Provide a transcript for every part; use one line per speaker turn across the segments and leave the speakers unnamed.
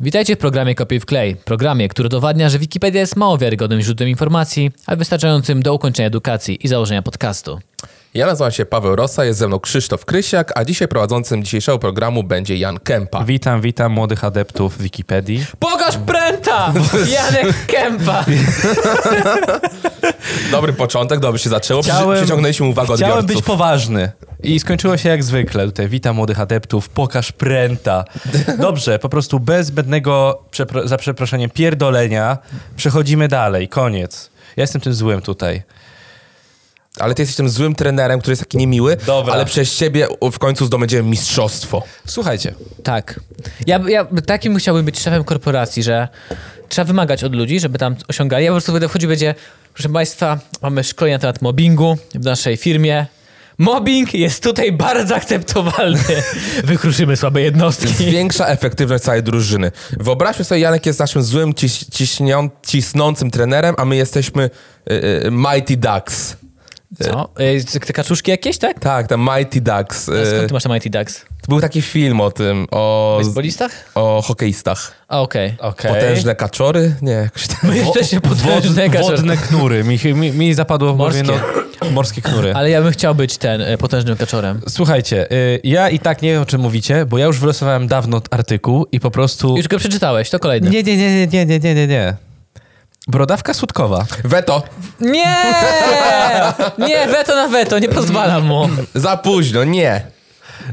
Witajcie w programie Kopiuj w klej, programie, który dowadnia, że Wikipedia jest mało wiarygodnym źródłem informacji, ale wystarczającym do ukończenia edukacji i założenia podcastu.
Ja nazywam się Paweł Rosa, jest ze mną Krzysztof Krysiak, a dzisiaj prowadzącym dzisiejszego programu będzie Jan Kępa.
Witam, witam młodych adeptów Wikipedii.
Pokaż pręta! Janek Kępa!
Dobry początek, dobrze się zaczęło, Przy-
Chciałem-
przyciągnęliśmy uwagę
Chciałem być
odbiorców.
poważny i skończyło się jak zwykle. Tutaj witam młodych adeptów, pokaż pręta. Dobrze, po prostu bez zbędnego, przepro- za przeproszeniem, pierdolenia przechodzimy dalej, koniec. Ja jestem tym złym tutaj.
Ale ty jesteś tym złym trenerem, który jest taki niemiły,
Dobra.
ale przez ciebie w końcu zdobędziemy mistrzostwo.
Słuchajcie,
Tak. Ja, ja takim chciałbym być szefem korporacji, że trzeba wymagać od ludzi, żeby tam osiągali. Ja po prostu będę wchodził i będzie, proszę Państwa, mamy szkolenie na temat mobbingu w naszej firmie. Mobbing jest tutaj bardzo akceptowalny. Wykruszymy słabe jednostki.
Zwiększa efektywność całej drużyny. Wyobraźmy sobie, Janek jest naszym złym, ciś, ciśnią, cisnącym trenerem, a my jesteśmy y, y, Mighty Ducks.
Co? Y, Te kaczuszki jakieś, tak?
Tak, tam Mighty Ducks.
A
Y,
Skąd ty masz tam IT Ducks?
był taki film o tym, o,
Baseballistach?
o hokeistach.
A, okej.
okej.
Potężne kaczory? Nie, jakoś tak.
My jesteśmy potężne
Wod,
kaczor.
wodne knury. Mi, mi, mi zapadło w głowie
Morskie.
no, morskie knury.
Ale ja bym chciał być ten e, potężnym kaczorem.
Słuchajcie, y, ja i tak nie wiem o czym mówicie, bo ja już wylosowałem dawno artykuł i po prostu...
Już go przeczytałeś, to kolejny.
Nie, nie, nie, nie, nie, nie, nie, nie, nie. Brodawka słodkowa.
Weto,
Nie! Nie, weto na weto, nie pozwalam mu.
za późno, nie.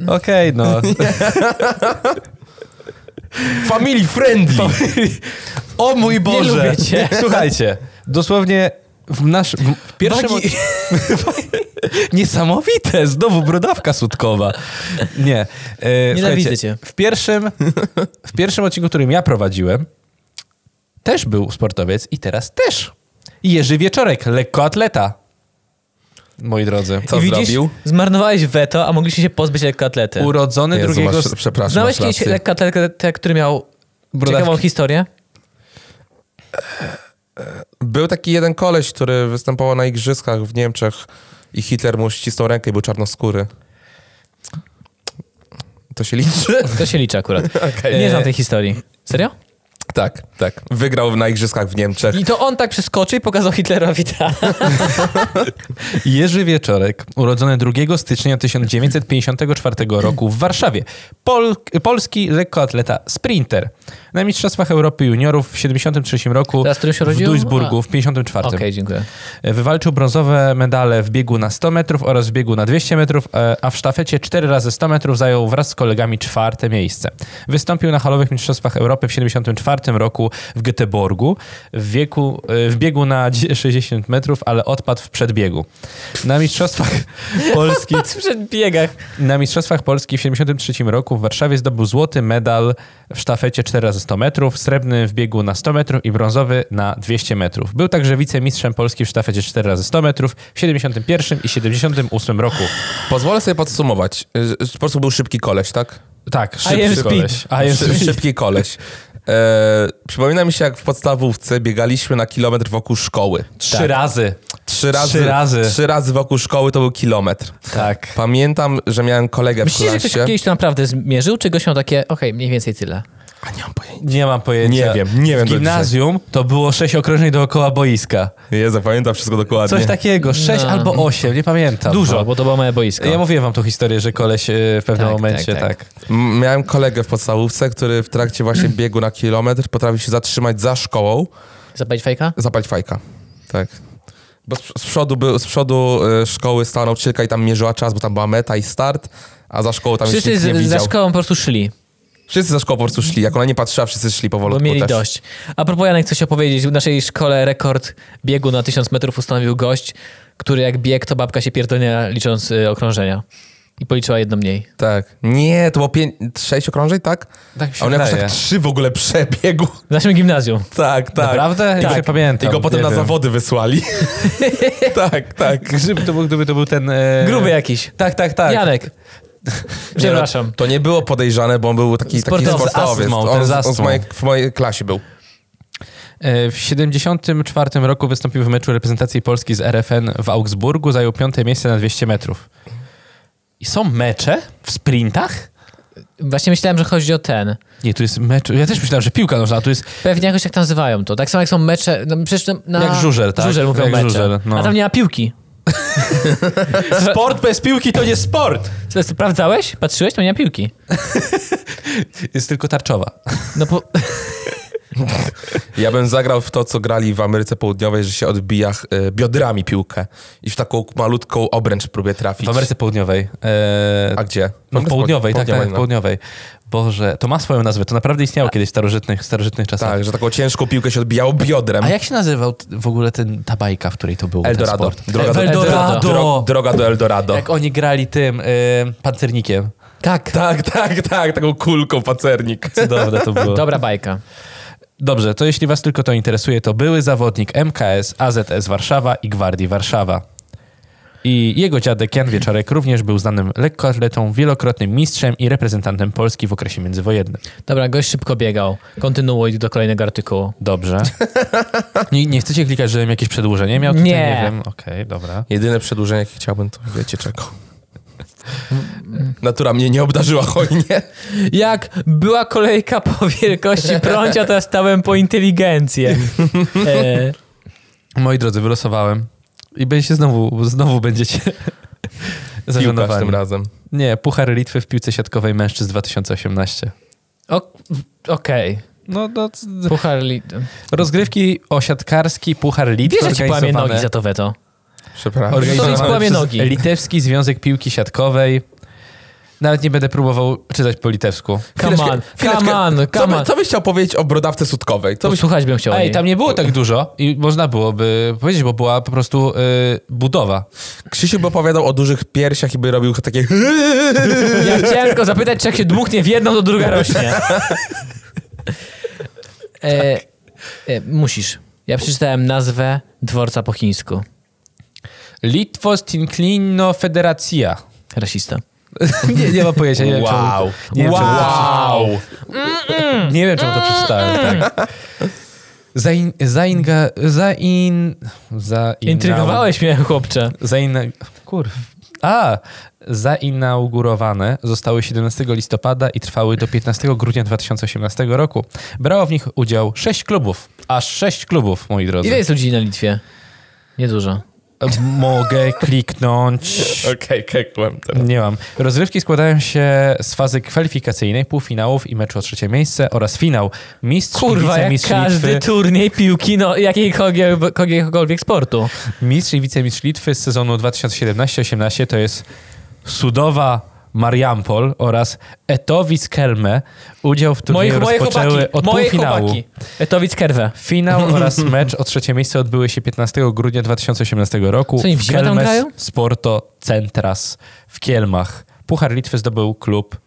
Okej, no.
Family friendly.
O mój Boże!
lubię cię.
Słuchajcie, dosłownie w nasz... W pierwszym...
Wagi-
Niesamowite! Znowu brodawka sutkowa. Nie. E,
Nienawidzę
słuchajcie,
cię.
W pierwszym, w pierwszym odcinku, którym ja prowadziłem, też był sportowiec i teraz też. Jerzy Wieczorek, lekkoatleta. Moi drodzy.
Co
I widzisz,
zrobił?
Zmarnowałeś weto, a mogliście się pozbyć lekkoatlety.
Urodzony
Jezu,
drugiego...
masz, przepraszam,
Znałeś
masz
kiedyś
rację.
lekkoatletę, który miał
Brodawki.
ciekawą historię?
Był taki jeden koleś, który występował na igrzyskach w Niemczech i Hitler mu ścisnął rękę i był czarnoskóry. To się liczy?
To się liczy akurat.
Okej.
Nie znam tej historii. Serio?
tak, tak. Wygrał na igrzyskach w Niemczech.
I to on tak przeskoczył i pokazał Hitlerowi tak.
Jerzy Wieczorek, urodzony 2 stycznia 1954 roku w Warszawie. Pol polski lekkoatleta, sprinter. Na Mistrzostwach Europy Juniorów w 73 roku
Teraz, w którym się
w
urodził?
Duisburgu
A.
w 54.
Okej, dziękuję.
Wywalczył brązowe medale w biegu na 100 metrów oraz w biegu na 200 metrów, e, a w sztafecie 4 razy 100 metrów zajął wraz z kolegami czwarte miejsce. Wystąpił na halowych mistrzostwach Europy w 74 roku w Göteborgu w, wieku, e, w biegu na 60 metrów, ale odpadł w przedbiegu. Na mistrzostwach Polski
Patrz przed biegach.
na Mistrzostwach Polski w 1973 roku w Warszawie zdobył złoty medal w sztafecie 4 x 100 metrów, srebrny w biegu na 100 metrów i brązowy na 200 metrów. Był także wicemistrzem Polski w sztafecie 4 x 100 metrów w 71 i 78 roku.
Pozwolę sobie podsumować. Y, y, Po prostu był szybki koleś, tak?
Tak,
I am
szybszy
speed.
koleś. I
Szy-
am speed.
Szybki koleś. E, przypomina mi się, jak w podstawówce biegaliśmy na kilometr wokół szkoły.
Trzy razy.
Trzy razy,
Trzy razy.
Trzy razy wokół szkoły to był kilometr.
Tak.
Pamiętam, że miałem kolegę w
Myślisz, że ktoś
klasie.
kiedyś to naprawdę zmierzył, czy goś miał takie, okej, mniej więcej tyle?
A nie mam pojęcia.
Nie mam pojęcia.
Nie wiem, nie wiem
W
do
gimnazjum to było sześć okrążeń dookoła boiska.
Nie zapamiętam wszystko dokładnie.
Coś tak- takiego, sześć
No.
albo osiem, nie pamiętam. No.
Bo, bo to było moje boisko.
Tak.
Ja mówiłem wam tą historię, że koleś e, w pewnym
Tak,
momencie
tak, tak.
tak.
M- Miałem kolegę w podstawówce, który w trakcie właśnie biegu na kilometr potrafił się zatrzymać za szkołą,
Zapalić fajka?
zapalić fajka. Tak. Bo z, z przodu, był, z przodu y, szkoły stała nauczycielka i tam mierzyła czas, bo tam była meta i start, a za szkołą tam Wszyscy
Wszyscy
nikt nie
z, za
widział.
szkołą po prostu szli,
Wszyscy za szkołą po prostu szli. Jak ona nie patrzyła, wszyscy szli powolutku
bo mieli
też.
dość. A propos Janek, coś opowiedzieć. W naszej szkole rekord biegu na 1000 metrów ustanowił gość, który jak biegł, to babka się pierdolnia licząc y, okrążenia. I policzyła jedno mniej.
Tak. Nie, to było pięć, sześć okrążeń, tak?
Tak mi się
a on jakoś
wydaje.
tak trzy w ogóle przebiegł.
W naszym gimnazjum.
Tak, tak.
Naprawdę?
Tak.
Tak. Nie pamiętam.
I go potem
nie
na
wiem.
zawody wysłali. tak, tak.
Gdyby to był, gdyby to był ten... E...
Gruby jakiś.
Tak, tak, tak. no,
Janek. Przepraszam.
To nie było podejrzane, bo on był taki sportowiec. Taki
Sportowy,
sportowiec.
z astmą,
on
ten z
on z
astmą.
mojej, w mojej klasie był.
E, W 74 roku wystąpił w meczu reprezentacji Polski z RFN w Augsburgu, zajął piąte miejsce na 200 metrów. I są mecze w sprintach?
Właśnie myślałem, że chodzi o ten.
Nie, tu jest mecz. Ja też myślałem, że piłka nożna, a tu jest.
Pewnie jakoś tak nazywają to. Tak samo jak są mecze. No, przecież na- na...
Jak żużel, tak?
Żużel mówią
Jak
mecze.
żużel, no.
A tam nie ma piłki.
Sport bez piłki to nie sport!
Co, Sprawdzałeś? Patrzyłeś? Tam nie ma piłki.
Jest tylko tarczowa.
No po...
Ja bym zagrał w to, co grali w Ameryce Południowej, że się odbija y, biodrami piłkę i w taką malutką obręcz próbuje trafić.
W Ameryce Południowej. E,
A gdzie?
No, w południowej, tak, tak, w
no.
południowej. Boże, to ma swoją nazwę. To naprawdę istniało kiedyś w starożytnych, starożytnych czasach.
Tak, że taką ciężką piłkę się odbijało biodrem.
A jak się nazywał t- w ogóle ten, ta bajka, w której to był
Eldorado.
ten sport?
Droga do,
Eldorado.
Dro, droga do Eldorado.
Jak oni grali tym y, pancernikiem.
tak.
Tak, tak, tak, taką kulką pacernik.
Cudowne to było.
Dobra bajka.
Dobrze, to jeśli was tylko to interesuje, to były zawodnik MKS, AZS Warszawa i Gwardii Warszawa. I jego dziadek Jan Wieczorek również był znanym lekkoatletą, wielokrotnym mistrzem i reprezentantem Polski w okresie międzywojennym.
Dobra, gość szybko biegał. Kontynuuj do kolejnego artykułu.
Dobrze. Nie, nie chcecie klikać, żebym jakieś przedłużenie miał? Tutaj?
Nie.
Nie wiem. Okej, dobra.
Jedyne przedłużenie, jakie chciałbym, to wiecie czego. Natura mnie nie obdarzyła hojnie.
Jak była kolejka po wielkości prącia, to ja stałem po inteligencję. E,
Moi drodzy, wylosowałem. I będzie znowu, znowu będziecie
Piłka
zażenowani.
tym razem.
Nie, Puchar Litwy w piłce siatkowej mężczyzn 2018.
o- Okej.
No, no
Puchar li...
Rozgrywki o siatkarski Puchar Litwy
Wiesz, że ci połamie
organizowane-
nogi za to weto.
Przepraszam.
Organizowane Organizowa-
Organizowane
Połamie
przez
nogi.
Litewski Związek Piłki Siatkowej. Nawet nie będę próbował czytać po litewsku.
Come on, come on,
Co,
come
by,
on.
co byś chciał powiedzieć o brodawce sutkowej? Co byś...
Posłuchać bym chciał. o
Ej,
niej.
tam nie było tak dużo i można byłoby powiedzieć, bo była po prostu y, budowa.
Krzysiu by opowiadał o dużych piersiach i by robił takie...
Ja chciałem tylko zapytać, czy jak się dmuchnie w jedną, to druga rośnie. E, e, musisz. Ja przeczytałem nazwę dworca po chińsku.
Litwos Tinklino Federacja.
Rasista.
nie, nie mam pojęcia. Nie
Wow.
Wiem, czemu, nie, Wiem, czemu,
Wow!
nie wiem, czemu to przeczytałem. Tak. Zain, zainga, zain, zain,
Intrygowałeś mnie, chłopcze.
Zaina... Kurw. A! Zainaugurowane zostały 17 listopada i trwały do 15 grudnia 2018 roku. Brało w nich udział sześć klubów. Aż sześć klubów, moi drodzy.
Ile jest ludzi na Litwie? Niedużo.
Mogę kliknąć.
Okej, kekłem teraz.
Nie mam. Rozrywki składają się z fazy kwalifikacyjnej, półfinałów i meczu o trzecie miejsce oraz finał. Mistrz
Kurwa,
i
jak
wicemistrz
każdy
Litwy.
turniej piłki, no jakiegokolwiek, jakiegokolwiek sportu.
Mistrz i wicemistrz Litwy z sezonu 2017-18 to jest Sudowa Mariampol oraz Etowic Kelme. Udział w turnieju
Moje, moje
rozpoczęły
chłopaki,
od
moje
półfinału.
chłopaki. Etowic Kerwe.
Finał oraz mecz o trzecie miejsce odbyły się 15 grudnia 2018 roku
Co, oni w
w
zimę tam
Kelmes
grają?
Sporto Centras w Kielmach. Puchar Litwy zdobył klub.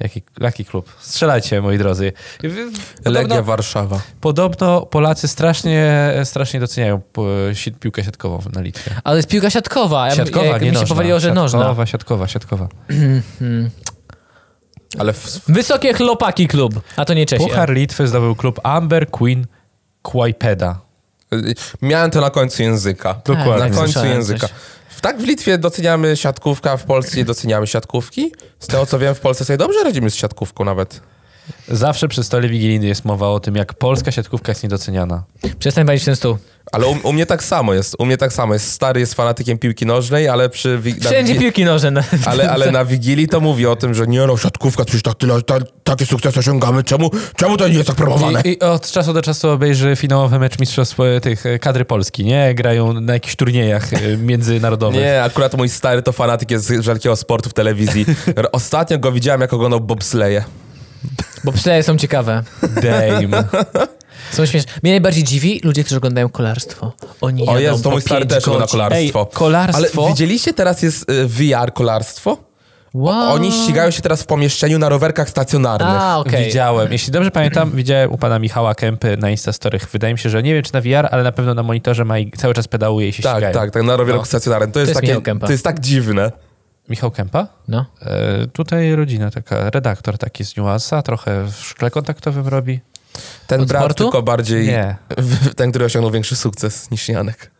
Jaki, jaki klub? Strzelajcie, moi drodzy. W- w-
Legia
Podobno,
Warszawa.
podobno Polacy strasznie, strasznie doceniają e, si- piłkę siatkową na Litwie.
Ale jest piłka siatkowa. Ja,
Siatkowa,
jak
nie
mi się
nożna.
powaliło, że
siatkowa,
nożna.
Siatkowa, siatkowa,
Ale w,
Wysokie chlopaki klub, a to nie Czesi.
Puchar Litwy zdobył klub Amber Queen Kłajpeda.
miałem to na końcu języka.
Dokładnie.
Na końcu
Tak, Słyszałem
języka.
coś.
W, tak w Litwie doceniamy siatkówkę, a w Polsce nie doceniamy siatkówki. Z tego co wiem, w Polsce sobie dobrze radzimy z siatkówką nawet.
Zawsze przy stole wigilijnym jest mowa o tym, jak polska siatkówka jest niedoceniana.
Przestań walić w ten stół.
Ale u, u mnie tak samo jest. U mnie tak samo jest. Stary jest fanatykiem piłki nożnej, ale przy... Wi- na
Wszędzie
wigi-
piłki nożne.
ale, ale na Wigilii to mówi o tym, że nie no, siatkówka, coś tak tyle, ta, takie sukcesy osiągamy, czemu, czemu to nie jest tak promowane?
I, I od czasu do czasu obejrzy finałowy mecz mistrzostw e, tych e, kadry Polski, nie? Grają na jakichś turniejach e, międzynarodowych.
Nie, akurat mój stary to fanatyk jest z wszelkiego sportu w telewizji. R- Ostatnio go widziałem, jak oglądał bobsleje.
Bo psyle są ciekawe.
Dame.
Są śmieszne. Mnie najbardziej dziwi ludzie, którzy oglądają kolarstwo. Oni
O
jadą
jest, to
po
mój stary
pięć
też
godzin.
na kolarstwo.
Ej, kolarstwo?
Ale widzieliście teraz jest y, VR kolarstwo?
Wow.
Oni ścigają się teraz w pomieszczeniu na rowerkach stacjonarnych.
A, okej.
Widziałem. Jeśli dobrze pamiętam, widziałem u pana Michała Kępy na Instastorach. Wydaje mi się, że nie wiem czy na VR, ale na pewno na monitorze ma i cały czas pedałuje i się
Tak,
ścigają.
tak, tak, na rowerku
No.
stacjonarnym. To jest,
jest Michał
takie,
Kępa.
to jest tak dziwne.
Michał Kępa?
No.
E, tutaj rodzina taka, redaktor taki z niuansa, trochę w szkle kontaktowym robi.
Ten
Od
brat
sportu?
tylko bardziej,
Nie.
w- ten, który osiągnął większy sukces niż Janek.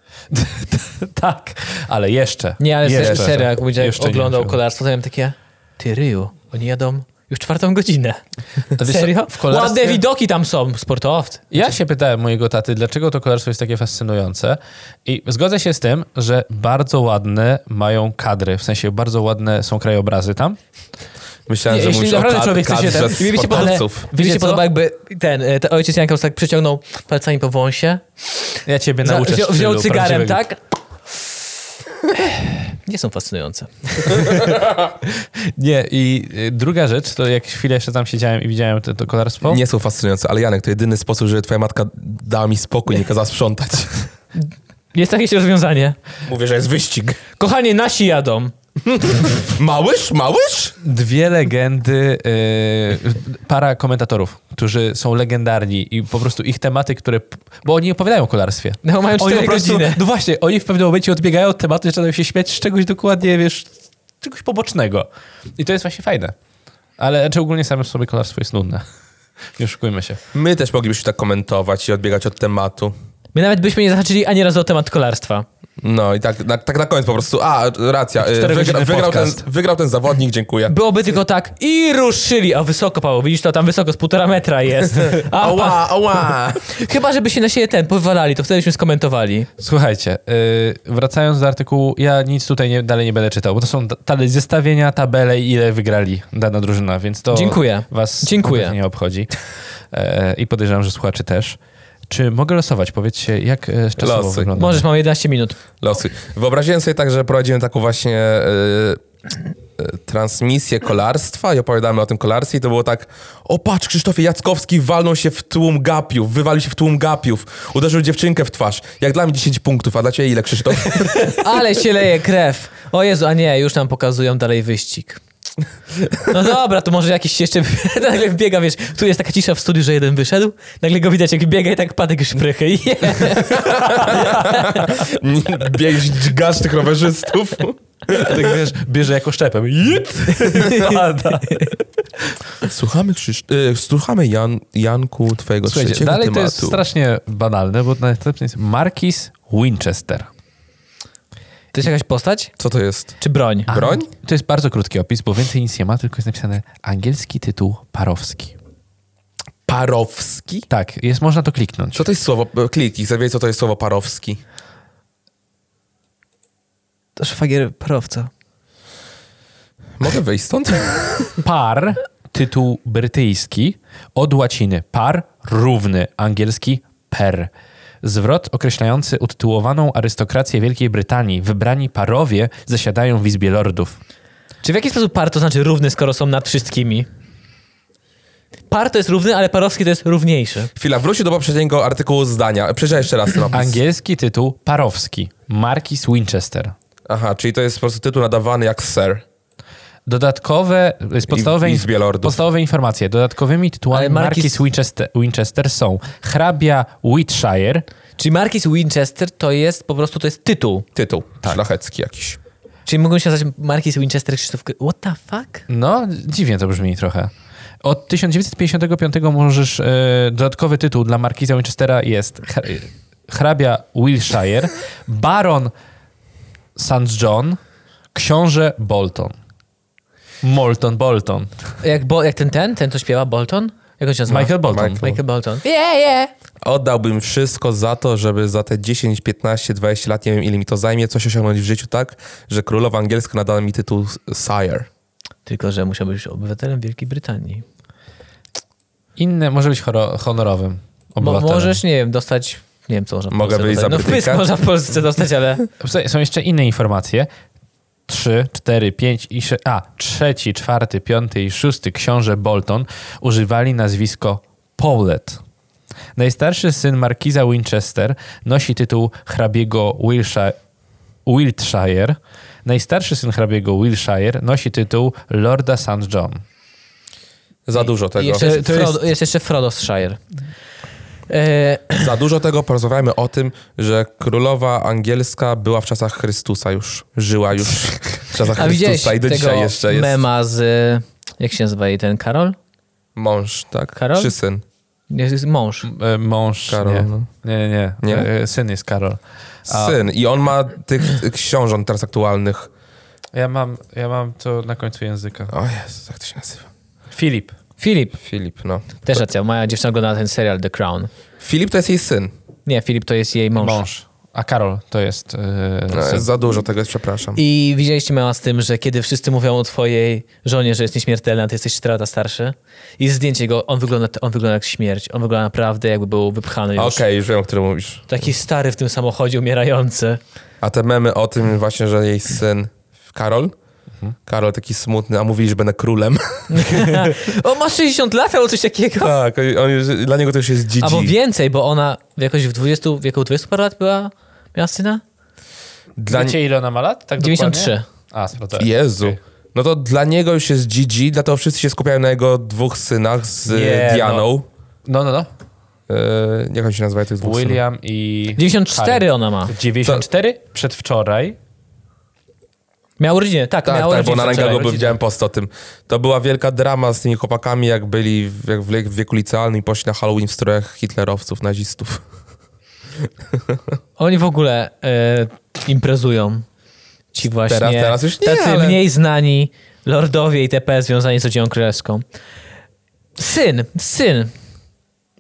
tak, ale jeszcze.
Nie, ale
jeszcze,
serio, jak będzie
Jeszcze nie
oglądał
wiem.
kolarstwo, to miałem takie, ty ryju, oni jadą Już czwartą godzinę.
To wiesz co,
Serio?
w kolarstwie-
Ładne widoki tam są, sportowcy.
Ja się pytałem mojego taty, dlaczego to kolarstwo jest takie fascynujące i zgodzę się z tym, że bardzo ładne mają kadry, w sensie bardzo ładne są krajobrazy tam.
Myślałem,
Nie,
że
jeśli
mówisz
naprawdę
o kad-
człowiek chce się
kadrze
ten-
I mi się podoba,
sportowców.
mi się
Wiecie co?
podoba jakby ten, e, ten ojciec Janka tak przyciągnął palcami po wąsie,
Ja ciebie
za,
nauczę.
wziął,
stylu
wziął cygarem,
prawdziwego.
tak? Nie są fascynujące.
Nie, i y, druga rzecz, to jak chwilę jeszcze tam siedziałem i widziałem to, to kolarstwo.
Nie są fascynujące, ale Janek, to jedyny sposób, żeby twoja matka dała mi spokój, nie kazała sprzątać.
Jest jakieś rozwiązanie.
Mówię, że jest wyścig.
Kochanie, nasi jadą.
Małysz? Małysz?
Dwie legendy, y, para komentatorów, którzy są legendarni i po prostu ich tematy, które... Bo oni nie opowiadają o kolarstwie.
No, mają
Oni po
4
prostu-
godziny.
No właśnie, oni w pewnym momencie odbiegają od tematu, zaczynają się śmiać z czegoś dokładnie, wiesz, czegoś pobocznego. I to jest właśnie fajne. Ale znaczy ogólnie same w sobie kolarstwo jest nudne. Nie oszukujmy się.
My też moglibyśmy tak komentować i odbiegać od tematu.
My nawet byśmy nie zahaczyli ani razu o temat kolarstwa.
No i tak na, tak na koniec po prostu. A, racja. y, Wygra,
Czterogodzinny
wygrał, ten,
podcast.
wygrał ten zawodnik, dziękuję.
Byłoby tylko tak i ruszyli. A wysoko, Paweł, widzisz to? Tam wysoko, z półtora metra jest. A, pa-
Ała, ała.
chyba, żeby się na siebie ten powywalali, to wtedy byśmy skomentowali.
Słuchajcie, y, wracając do artykułu, ja nic tutaj nie, dalej nie będę czytał, bo to są ta- dalej zestawienia, tabele i ile wygrali dana drużyna, więc to
Dziękuję.
was
Dziękuję.
kompletnie nie obchodzi. E, I podejrzewam, że słuchaczy też. Czy mogę losować? Powiedzcie, jak e, czasowo
Losuj.
wygląda?
Możesz, mam 11 minut.
Losy. Wyobraziłem sobie tak, że prowadzimy taką właśnie y, y, transmisję kolarstwa i opowiadamy o tym kolarstwie i to było tak, o patrz, Krzysztofie Jackowski walnął się w tłum gapiów, wywalił się w tłum gapiów, uderzył dziewczynkę w twarz. Jak dla mnie 10 punktów, a dla ciebie ile, Krzysztof?
Ale się leje krew. O Jezu, a nie, już nam pokazują dalej wyścig. No dobra, to może jakiś jeszcze nagle wbiega, wiesz, tu jest taka cisza w studiu, że jeden wyszedł, nagle go widać jak biega i tak padek szprychy. Je.
Biegasz, dźgasz tych rowerzystów.
Tak wiesz, bierze jako szczepem. Jit! Pada.
Słuchamy, Krzysz... y, słuchamy Jan, Janku, twojego
Słuchajcie,
trzeciego
dalej
tematu.
to jest strasznie banalne, bo następny jest Markis Winchester.
To jest jakaś postać?
Co to jest?
Czy broń?
Broń?
To jest bardzo krótki opis, bo więcej nic nie ma, tylko jest napisane angielski tytuł Parowski.
Parowski?
Tak, jest, można to kliknąć.
Co to jest słowo? Kliki, zawiedz, co to jest słowo parowski.
To szwagier parowca.
Mogę wyjść stąd?
Par, tytuł brytyjski, od łaciny par, równy, angielski per. Zwrot określający utytułowaną arystokrację Wielkiej Brytanii. Wybrani parowie zasiadają w Izbie Lordów.
Czy w jaki sposób par to znaczy równy, skoro są nad wszystkimi? Par to jest równy, ale parowski to jest równiejszy.
Chwila, wróćcie do poprzedniego artykułu zdania. Przeczytaj jeszcze raz ten opis.
Angielski tytuł Parowski, Markis Winchester.
Aha, czyli to jest po prostu tytuł nadawany jak Sir.
Dodatkowe, to jest podstawowe,
I w
inf-
Izbie Lordów.
podstawowe informacje. Dodatkowymi tytułami
Ale marki
Markis
s-
Winchester, Winchester są hrabia Wiltshire,
Czyli Markis Winchester to jest po prostu, to jest tytuł.
Tytuł
Tak.
szlachecki jakiś.
Czyli mógłbym się nazywać Markis Winchester Krzysztof... Kry- What the fuck?
no dziwnie to brzmi trochę. Od 1955 możesz, e, dodatkowy tytuł dla Markiza Winchestera jest hr- hrabia Wiltshire, baron St. John, książę Bolton. Molton Bolton.
Jak, bo, jak ten, ten, ten co śpiewa, Bolton? Jak on się nazywa?
Michael Bolton.
Michael.
Michael Bolton. Yeah, yeah.
Oddałbym wszystko za to, żeby za te 10, 15, 20 lat, nie wiem ile mi to zajmie, coś osiągnąć w życiu tak, że królowa angielska nadała mi tytuł Sire.
Tylko, że musiał być obywatelem Wielkiej Brytanii.
Inne, może być choro- honorowym
Mo,
obywatelem.
możesz, nie wiem, dostać... Nie wiem, co można w
Mogę
Polsce
wyjść
dostać.
za
No pysk
Brytyjka?
można w Polsce dostać, ale...
Słuchaj, Są jeszcze inne informacje. 3, 4, 5 i 6. A, trzeci, czwarty, piąty i szósty książę Bolton używali nazwisko Powlet. Najstarszy syn markiza Winchester nosi tytuł hrabiego Wilsha- Wiltshire. Najstarszy syn hrabiego Wiltshire nosi tytuł Lorda St. John.
Za dużo tego.
I Jeszcze jest,
To jest-
Frodo, jest jeszcze Frodo z Shire.
Tak,
E,
Za dużo tego porozmawiajmy o tym, że królowa angielska była w czasach Chrystusa już. Żyła już w czasach
a widziałeś
Chrystusa i do
tego
dzisiaj jeszcze jest
mema z... e, Jak się nazywa jej ten Karol?
mąż, tak?
Karol?
Czy syn?
Jest, jest mąż.
E, Mąż.
Karol,
nie.
no.
nie, nie, nie.
Nie?
E, Syn jest Karol. A-
Syn. I on ma tych książąt teraz aktualnych.
Ja mam, ja mam to na końcu języka.
O Jezu, jak to się nazywa?
Filip.
Filip.
Filip, no.
Też racja, moja dziewczyna ogląda ten serial The Crown.
Filip to jest jej syn.
Nie, Filip to jest jej mąż.
Mąż. A Karol to jest... Yy,
No,
syn.
jest za dużo tego, jest, przepraszam.
I widzieliście mała z tym, że kiedy wszyscy mówią o twojej żonie, że jest nieśmiertelna, ty jesteś 4 lata starszy. I zdjęcie go, on wygląda, on wygląda jak śmierć. On wygląda naprawdę jakby był wypchany
A
już.
Okej, już wiem, o którym mówisz.
Taki stary w tym samochodzie, umierający.
A te memy o tym właśnie, że jej syn Karol?
Mhm.
Karol taki smutny, a mówili, że będę królem.
o, ma 60 lat albo coś takiego.
tak, on, już- dla niego to już jest dzidzi.
Albo więcej, bo ona jakoś w 20, w wieku 20 parę lat była, miała syna?
Dla... nie-
Wiecie ile ona ma lat? Tak
93.
dokładnie? A, sprawdzałem.
Jezu.
Tak. Okej.
No to dla niego już jest dzidzi, dlatego wszyscy się skupiają na jego dwóch synach z
Nie, no.
Dianą.
No, no, no.
E, jak on się nazywa tych dwóch synów?
William i...
94
Tak.
ona ma.
Harry. 94? Przedwczoraj.
Miała urodziny, tak,
Tak,
miała
tak, bo
urodziny
na
wczoraj.
Nęgago widziałem post o tym. To była wielka drama z tymi chłopakami, jak byli w, jak w le- w wieku licealnym i poszli na Halloween w strojach hitlerowców, nazistów.
Oni w ogóle e, imprezują. Ci właśnie.
Teraz- teraz już nie,
Tacy
ale-
mniej znani lordowie itp. związani z rodziną królewską. Syn, syn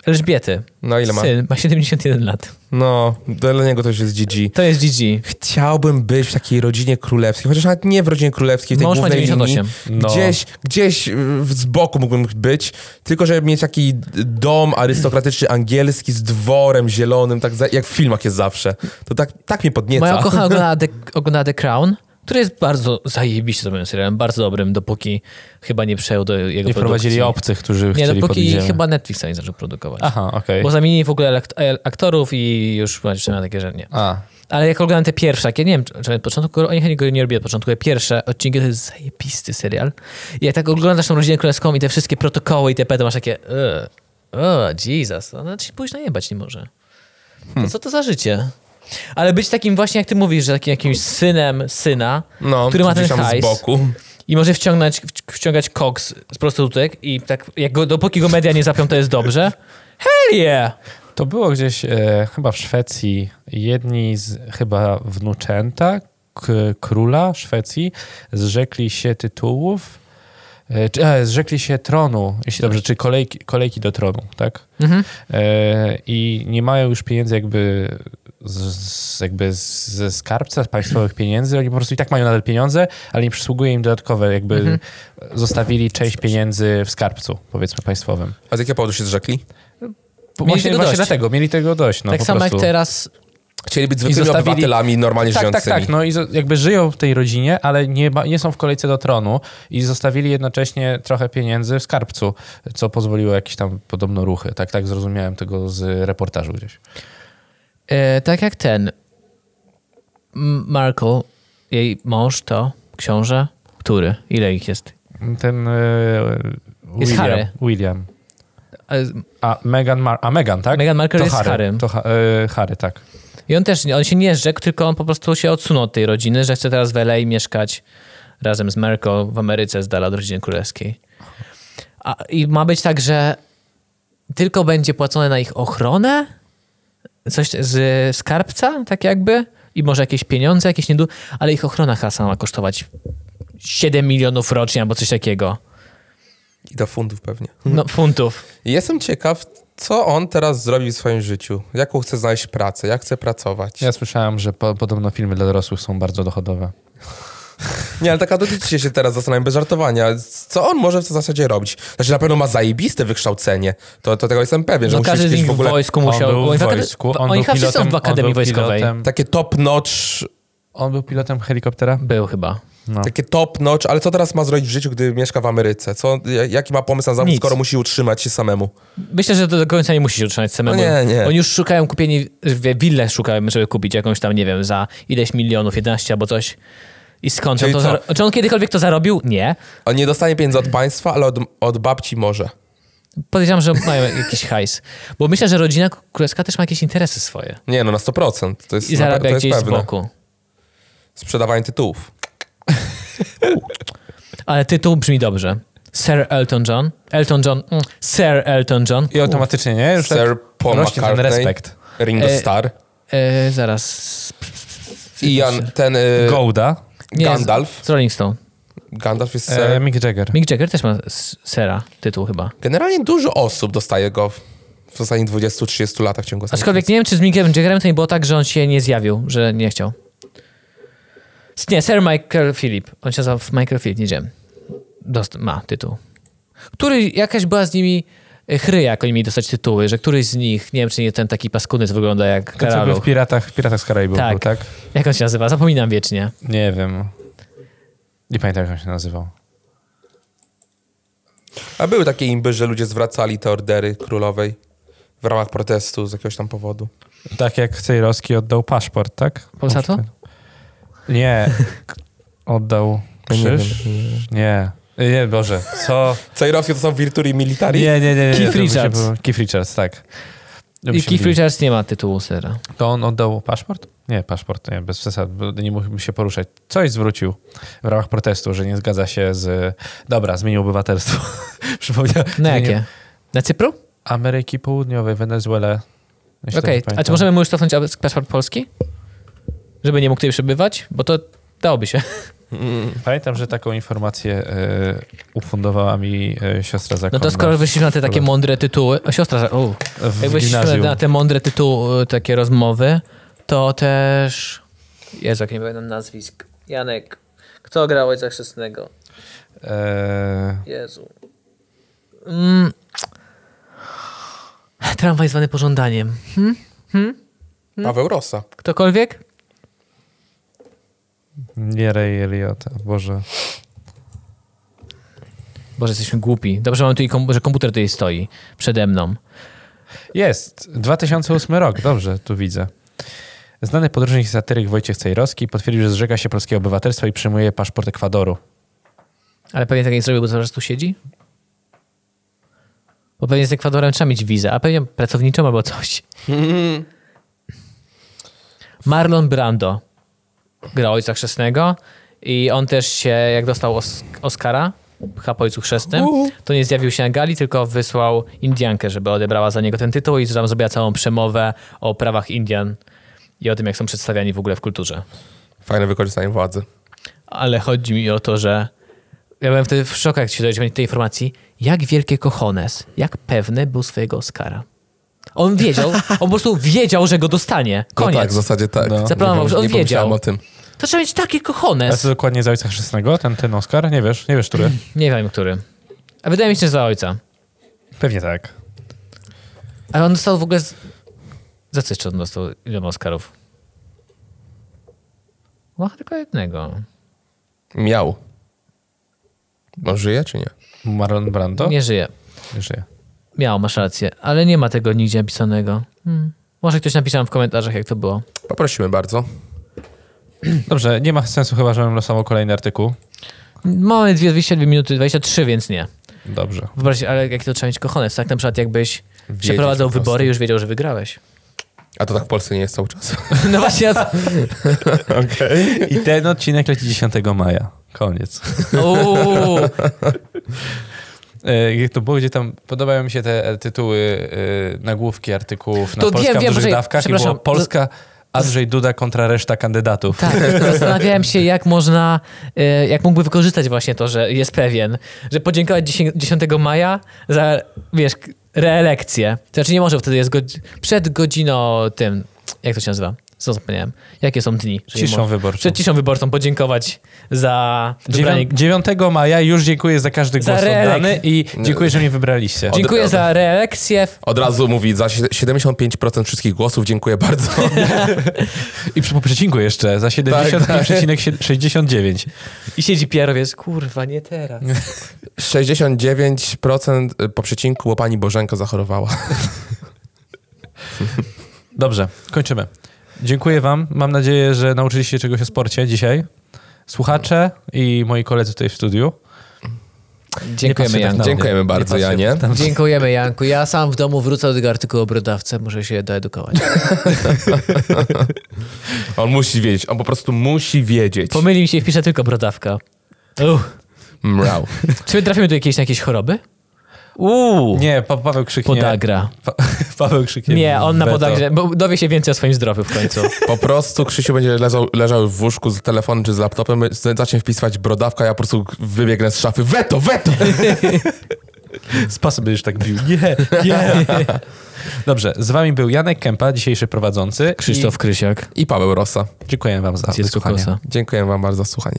Elżbiety.
No ile ma?
Syn ma 71 lat.
No, dla niego to już jest GG.
To jest GG.
Chciałbym być w takiej rodzinie królewskiej, chociaż nawet nie w rodzinie królewskiej, w tej
Mąż ma
głównej
98.
linii.
No.
Gdzieś, gdzieś y, w- z boku mógłbym być, tylko żeby mieć taki dom arystokratyczny angielski z dworem zielonym, tak za, jak w filmach jest zawsze. To tak, tak mnie podnieca.
Moja kochana ogląda The, ogląda The Crown, który jest bardzo zajebiście dobrym serialem, bardzo dobrym, dopóki chyba nie przejął do jego
I prowadzili
produkcji.
obcych, którzy
Nie,
chcieli pod
dopóki
ziemię.
chyba Netflix nie zaczął produkować.
Aha, okej.
Bo zamienili w ogóle akt- aktorów i już właśnie na takie, że nie.
A,
Ale jak oglądam te pierwsze, jak ja nie wiem, czy, czy od początku, oni chyba go nie robię od początku, ale pierwsze odcinki to jest zajebisty serial. I jak tak oglądasz tą rodzinę królewską i te wszystkie protokoły i te to masz takie o, Jesus, ona ci pójść najebać nie może. To co to za życie? Ale być takim właśnie, jak ty mówisz, że takim jakimś synem syna,
no,
który ma ten
gdzieś tam
hajs
z boku.
i może wciągnąć, wci- wciągać koks z prostytutek i tak, jak go, dopóki go media nie zapią, to jest dobrze. Hell yeah!
To było gdzieś e, chyba w Szwecji. Jedni z chyba wnuczęta k, króla Szwecji zrzekli się tytułów, e, czy, e, zrzekli się tronu, jeśli dobrze, czy kolejki, kolejki do tronu, tak?
Mhm.
E, I nie mają już pieniędzy jakby, z, z, jakby z, ze skarbca, z państwowych pieniędzy. Oni po prostu i tak mają nadal pieniądze, ale nie przysługuje im dodatkowe, jakby
Mhm.
zostawili część pieniędzy w skarbcu, powiedzmy państwowym.
A z jakiego powodu się zrzekli?
Bo
Mieli
właśnie,
tego
właśnie
dość.
dlatego, mieli tego dość. No,
tak
po
samo
prostu.
jak teraz
Chcieli być zwykłymi
zostawili-
obywatelami normalnie
Tak, tak,
żyjącymi.
tak. No i zo- jakby żyją w tej rodzinie, ale nie, ma, nie są w kolejce do tronu i zostawili jednocześnie trochę pieniędzy w skarbcu, co pozwoliło jakieś tam podobno ruchy. Tak, tak zrozumiałem tego z reportażu gdzieś.
E, tak jak ten M- Markle, jej mąż to książę, który? Ile ich jest?
Ten e,
Jest
William.
Harry.
William.
E,
A Meghan, Mar- a Meghan tak?
Meghan Markle
to
jest
Harry.
Harrym.
To ha- e, Harry, tak.
I on też, nie- on się nie zrzekł, tylko on po prostu się odsunął od tej rodziny, że chce teraz w LA mieszkać razem z Merkel w Ameryce z dala od rodziny królewskiej. A, I ma być tak, że tylko będzie płacone na ich ochronę? Coś z skarbca, tak jakby? I może jakieś pieniądze, jakieś niedu... Ale ich ochrona hasa ma kosztować 7 milionów rocznie albo coś takiego.
I do fundów pewnie.
No, funtów.
Jestem ciekaw, co on teraz zrobi w swoim życiu. Jaką chce znaleźć pracę, jak chce pracować.
Ja słyszałem, że po, podobno filmy dla dorosłych są bardzo dochodowe.
Nie, ale tak, taka dotyczy się teraz, zastanawiam, bez żartowania. Co on może w zasadzie robić? Znaczy, na pewno ma zajebiste wykształcenie. To, to tego jestem pewien, że
No
musi
każdy
być
z
kiedyś
nich
w ogóle...
w wojsku musiał...
on był
oni
w
w akade-
wojsku, on
oni
był
chyba
pilotem,
wszyscy są w
on
Akademii
był
Wojskowej.
Pilotem,
Takie top notch,
on był pilotem helikoptera?
Był chyba.
takie top notch, ale co teraz ma zrobić w życiu, gdy mieszka w Ameryce? Co, ja- jaki ma pomysł na zawód,
Nic.
skoro musi utrzymać się samemu?
Myślę, że to do końca nie musi się utrzymać samemu.
No nie, nie.
Oni już szukają kupieni, wie- willę szukają, żeby kupić jakąś tam, nie wiem, za ileś milionów, 11 albo coś. I skąd on
Czyli
to
co?
zar- Czy on kiedykolwiek to zarobił? Nie.
On nie dostanie pieniędzy od państwa, ale od, od babci może.
Podejrzewam, że mają jakiś hajs. Bo myślę, że rodzina królewska też ma jakieś interesy swoje.
Nie, no na 100%. To jest,
I
na, pe-
zarabia
to jest
gdzieś z
pewne.
boku.
Sprzedawanie tytułów.
Ale tytuł brzmi dobrze. Sir Elton John. Elton John. Mm, Sir Elton John.
I automatycznie, nie? Już
Sir Paul
tak rośnie ten
McCartney.
respekt.
Ringo
E,
Starr.
E, zaraz.
I Jan, ten... Y,
Gołda.
Nie,
Gandalf.
Z, z Rolling Stone.
Gandalf jest ser.
E, Mick Jagger.
Mick Jagger też ma s- sera tytuł chyba.
Generalnie dużo osób dostaje go w, w ostatnich 20-30 latach w ciągu ostatnich
Aczkolwiek nie wiem, czy z Mickiem Jaggerem to nie było tak, że on się nie zjawił, że nie chciał. S- Nie, Sir Michael Philip. On się nazywa Michael Philip, nie wiem. Dost- ma tytuł. Który, jakaś była z nimi e, chry, jak oni mieli dostać tytuły, że któryś z nich, nie wiem, czy nie ten taki paskudny, co wygląda jak
To co był w
Karaluch.
Piratach, w Piratach z Karaibów
Tak.
był, tak?
Jak on się nazywa? Zapominam wiecznie.
Nie wiem. Nie pamiętam, jak on się nazywał.
A były takie imby, że ludzie zwracali te ordery królowej w ramach protestu z jakiegoś tam powodu.
Tak jak Cejrowski oddał paszport, tak?
Polsatu?
Nie. K- Oddał krzyż? Nie. Nie, nie Boże, co?
Cejrowskie to są virturi militari?
Nie, nie, nie. nie, nie.
Keith
to by się
Richards.
było- Keith Richards, tak. To by
I
się
Keith
mówiło.
Richards nie ma tytułu sera.
To on oddał paszport? Nie, paszport, nie, bez przesad, bo nie mógłbym się poruszać. Coś zwrócił w ramach protestu, że nie zgadza się z... Dobra, zmienił obywatelstwo. Przypomniał.
Na
zmienił-
jakie? Na Cypru?
Ameryki Południowej, Wenezuelę. jeśli
Okej,
dobrze
a czy
pamiętam.
możemy mu już cofnąć ab- paszport polski? Żeby nie mógł tutaj przebywać? Bo to dałoby się.
Mm.
Pamiętam, że taką informację e, ufundowała mi e, siostra
No
zakonna.
to skoro wyszliśmy na te takie
Dobra.
mądre tytuły... O, siostra... za- U. Jak
w
wyszliśmy
gimnazjum.
na te mądre tytuły, takie rozmowy, to też... Jezu, jak nie pamiętam nazwisk. Janek. Kto grał Ojca Chrzestnego?
E,
Jezu. Mm. Tramwaj zwany pożądaniem.
Paweł Rosa.
Ktokolwiek?
nie Ray Eliota, Boże.
Boże, jesteśmy głupi. Dobrze, że mam tutaj kom- że komputer tutaj stoi przede mną.
Jest, 2008 rok, dobrze, tu widzę. Znany podróżnik i satyryk Wojciech Cejrowski potwierdził, że zrzeka się polskiego obywatelstwa i przyjmuje paszport Ekwadoru.
Ale pewnie tak nie zrobił, bo zaraz tu siedzi? Bo pewnie z Ekwadorem trzeba mieć wizę, a pewnie pracowniczą albo coś. Marlon Brando gra Ojca Chrzestnego i on też się, jak dostał Os- Oscara, chyba po Ojcu Chrzestnym, to nie zjawił się na gali, tylko wysłał Indiankę, żeby odebrała za niego ten tytuł i tam zrobiła całą przemowę o prawach Indian i o tym, jak są przedstawiani w ogóle w kulturze.
Fajne wykorzystanie władzy. No
Ale chodzi mi o to, że ja byłem wtedy w szoku, jak się dowiedziałem tej informacji, jak wielkie kochones, jak pewny był swojego Oscara. On wiedział, on po prostu wiedział, że go dostanie. Koniec.
No tak, w zasadzie tak.
No.
Zaplanował, że on
nie pomyślałem
wiedział.
o tym.
To trzeba mieć takie
A
kochones.
co dokładnie z Ojca Chrzestnego, ten, ten Oscar? Nie wiesz, nie wiesz, który?
Nie wiem, który. A wydaje mi się, że za ojca.
Pewnie tak.
Ale on dostał w ogóle... Z... Za co jeszcze on dostał iloma Oscarów? No, tylko jednego.
Miał. No żyje czy nie?
Marlon Brando?
Nie żyje.
Nie żyje.
Miał, masz rację. Ale nie ma tego nigdzie napisanego. Hmm. Może ktoś napisze nam w komentarzach, jak to było.
Poprosimy bardzo.
Dobrze, nie ma sensu chyba, żebym losował kolejny artykuł.
Mamy dwie- 22 minuty 23, więc nie.
Dobrze.
Wyobraźcie, ale jak to trzeba mieć kochones, tak? Na przykład jakbyś przeprowadzał
po prostu.
wybory i już wiedział, że wygrałeś.
A to tak w Polsce nie jest cały czas.
No właśnie, ja to...
Okej.
I ten odcinek leci 10 maja. Koniec.
Uuu.
E, Jak to było, gdzie tam podobają mi się te e, tytuły, e, nagłówki artykułów na
To
Polska
wiem,
w
wiem,
dużych
że-
dawkach i było
przepraszam,
Polska, Andrzej Duda kontra reszta kandydatów.
Tak, zastanawiałem się, jak można, e, jak mógłby wykorzystać właśnie to, że jest pewien, że podziękować 10, 10 maja za, wiesz, k- reelekcję. To Znaczy nie może, wtedy jest godzi- przed godziną tym, jak to się nazywa? Co zapomniałem? Jakie są dni? że nie
Ciszą
mo-
wyborczą.
Przed ciszą wyborcą podziękować za wybranie
9 maja już dziękuję za każdy
Za
głos
reelek-
oddany i dziękuję, że mnie wybraliście.
Dziękuję
Od-
za reelekcję.
Od razu mówi, za sie- 75% wszystkich głosów dziękuję bardzo.
I przy po przecinku jeszcze za 70,69.
I siedzi Piero, jest kurwa, nie teraz.
69% y, po przecinku, bo pani Bożenka zachorowała.
Dobrze, kończymy. Dziękuję wam. Mam nadzieję, że nauczyliście się czegoś o sporcie dzisiaj. Słuchacze i moi koledzy tutaj w studiu.
Dziękujemy,
Nie patrzcie
Janku.
tak na-
Dziękujemy
nie
bardzo,
patrzcie
Janie.
tam.
Dziękujemy, Janku. Ja sam w domu wrócę do tego artykułu o brodawce, muszę się doedukować.
On musi wiedzieć, on po prostu musi wiedzieć.
Pomyli mi się i wpiszę tylko brodawka. Uch.
Mrał.
Czy my trafimy tu jakieś, na jakieś choroby? Uuu,
Nie, pa Paweł krzyknie.
podagra.
Pa Paweł krzyknie.
Nie, on na
weto.
podagrze, bo dowie się więcej o swoim zdrowiu w końcu.
Po prostu Krzysiu będzie leżał, leżał w łóżku z telefonem czy z laptopem, zacznie wpisywać brodawka, ja po prostu wybiegnę z szafy. Weto, weto!
Z pasy będziesz tak bił. Nie, nie. Dobrze, z wami był Janek Kępa, dzisiejszy prowadzący.
Krzysztof Krysiak,
I Paweł Rosa.
I dziękuję wam za
dziecko
wysłuchanie.
kosa.
Dziękuję wam bardzo za słuchanie.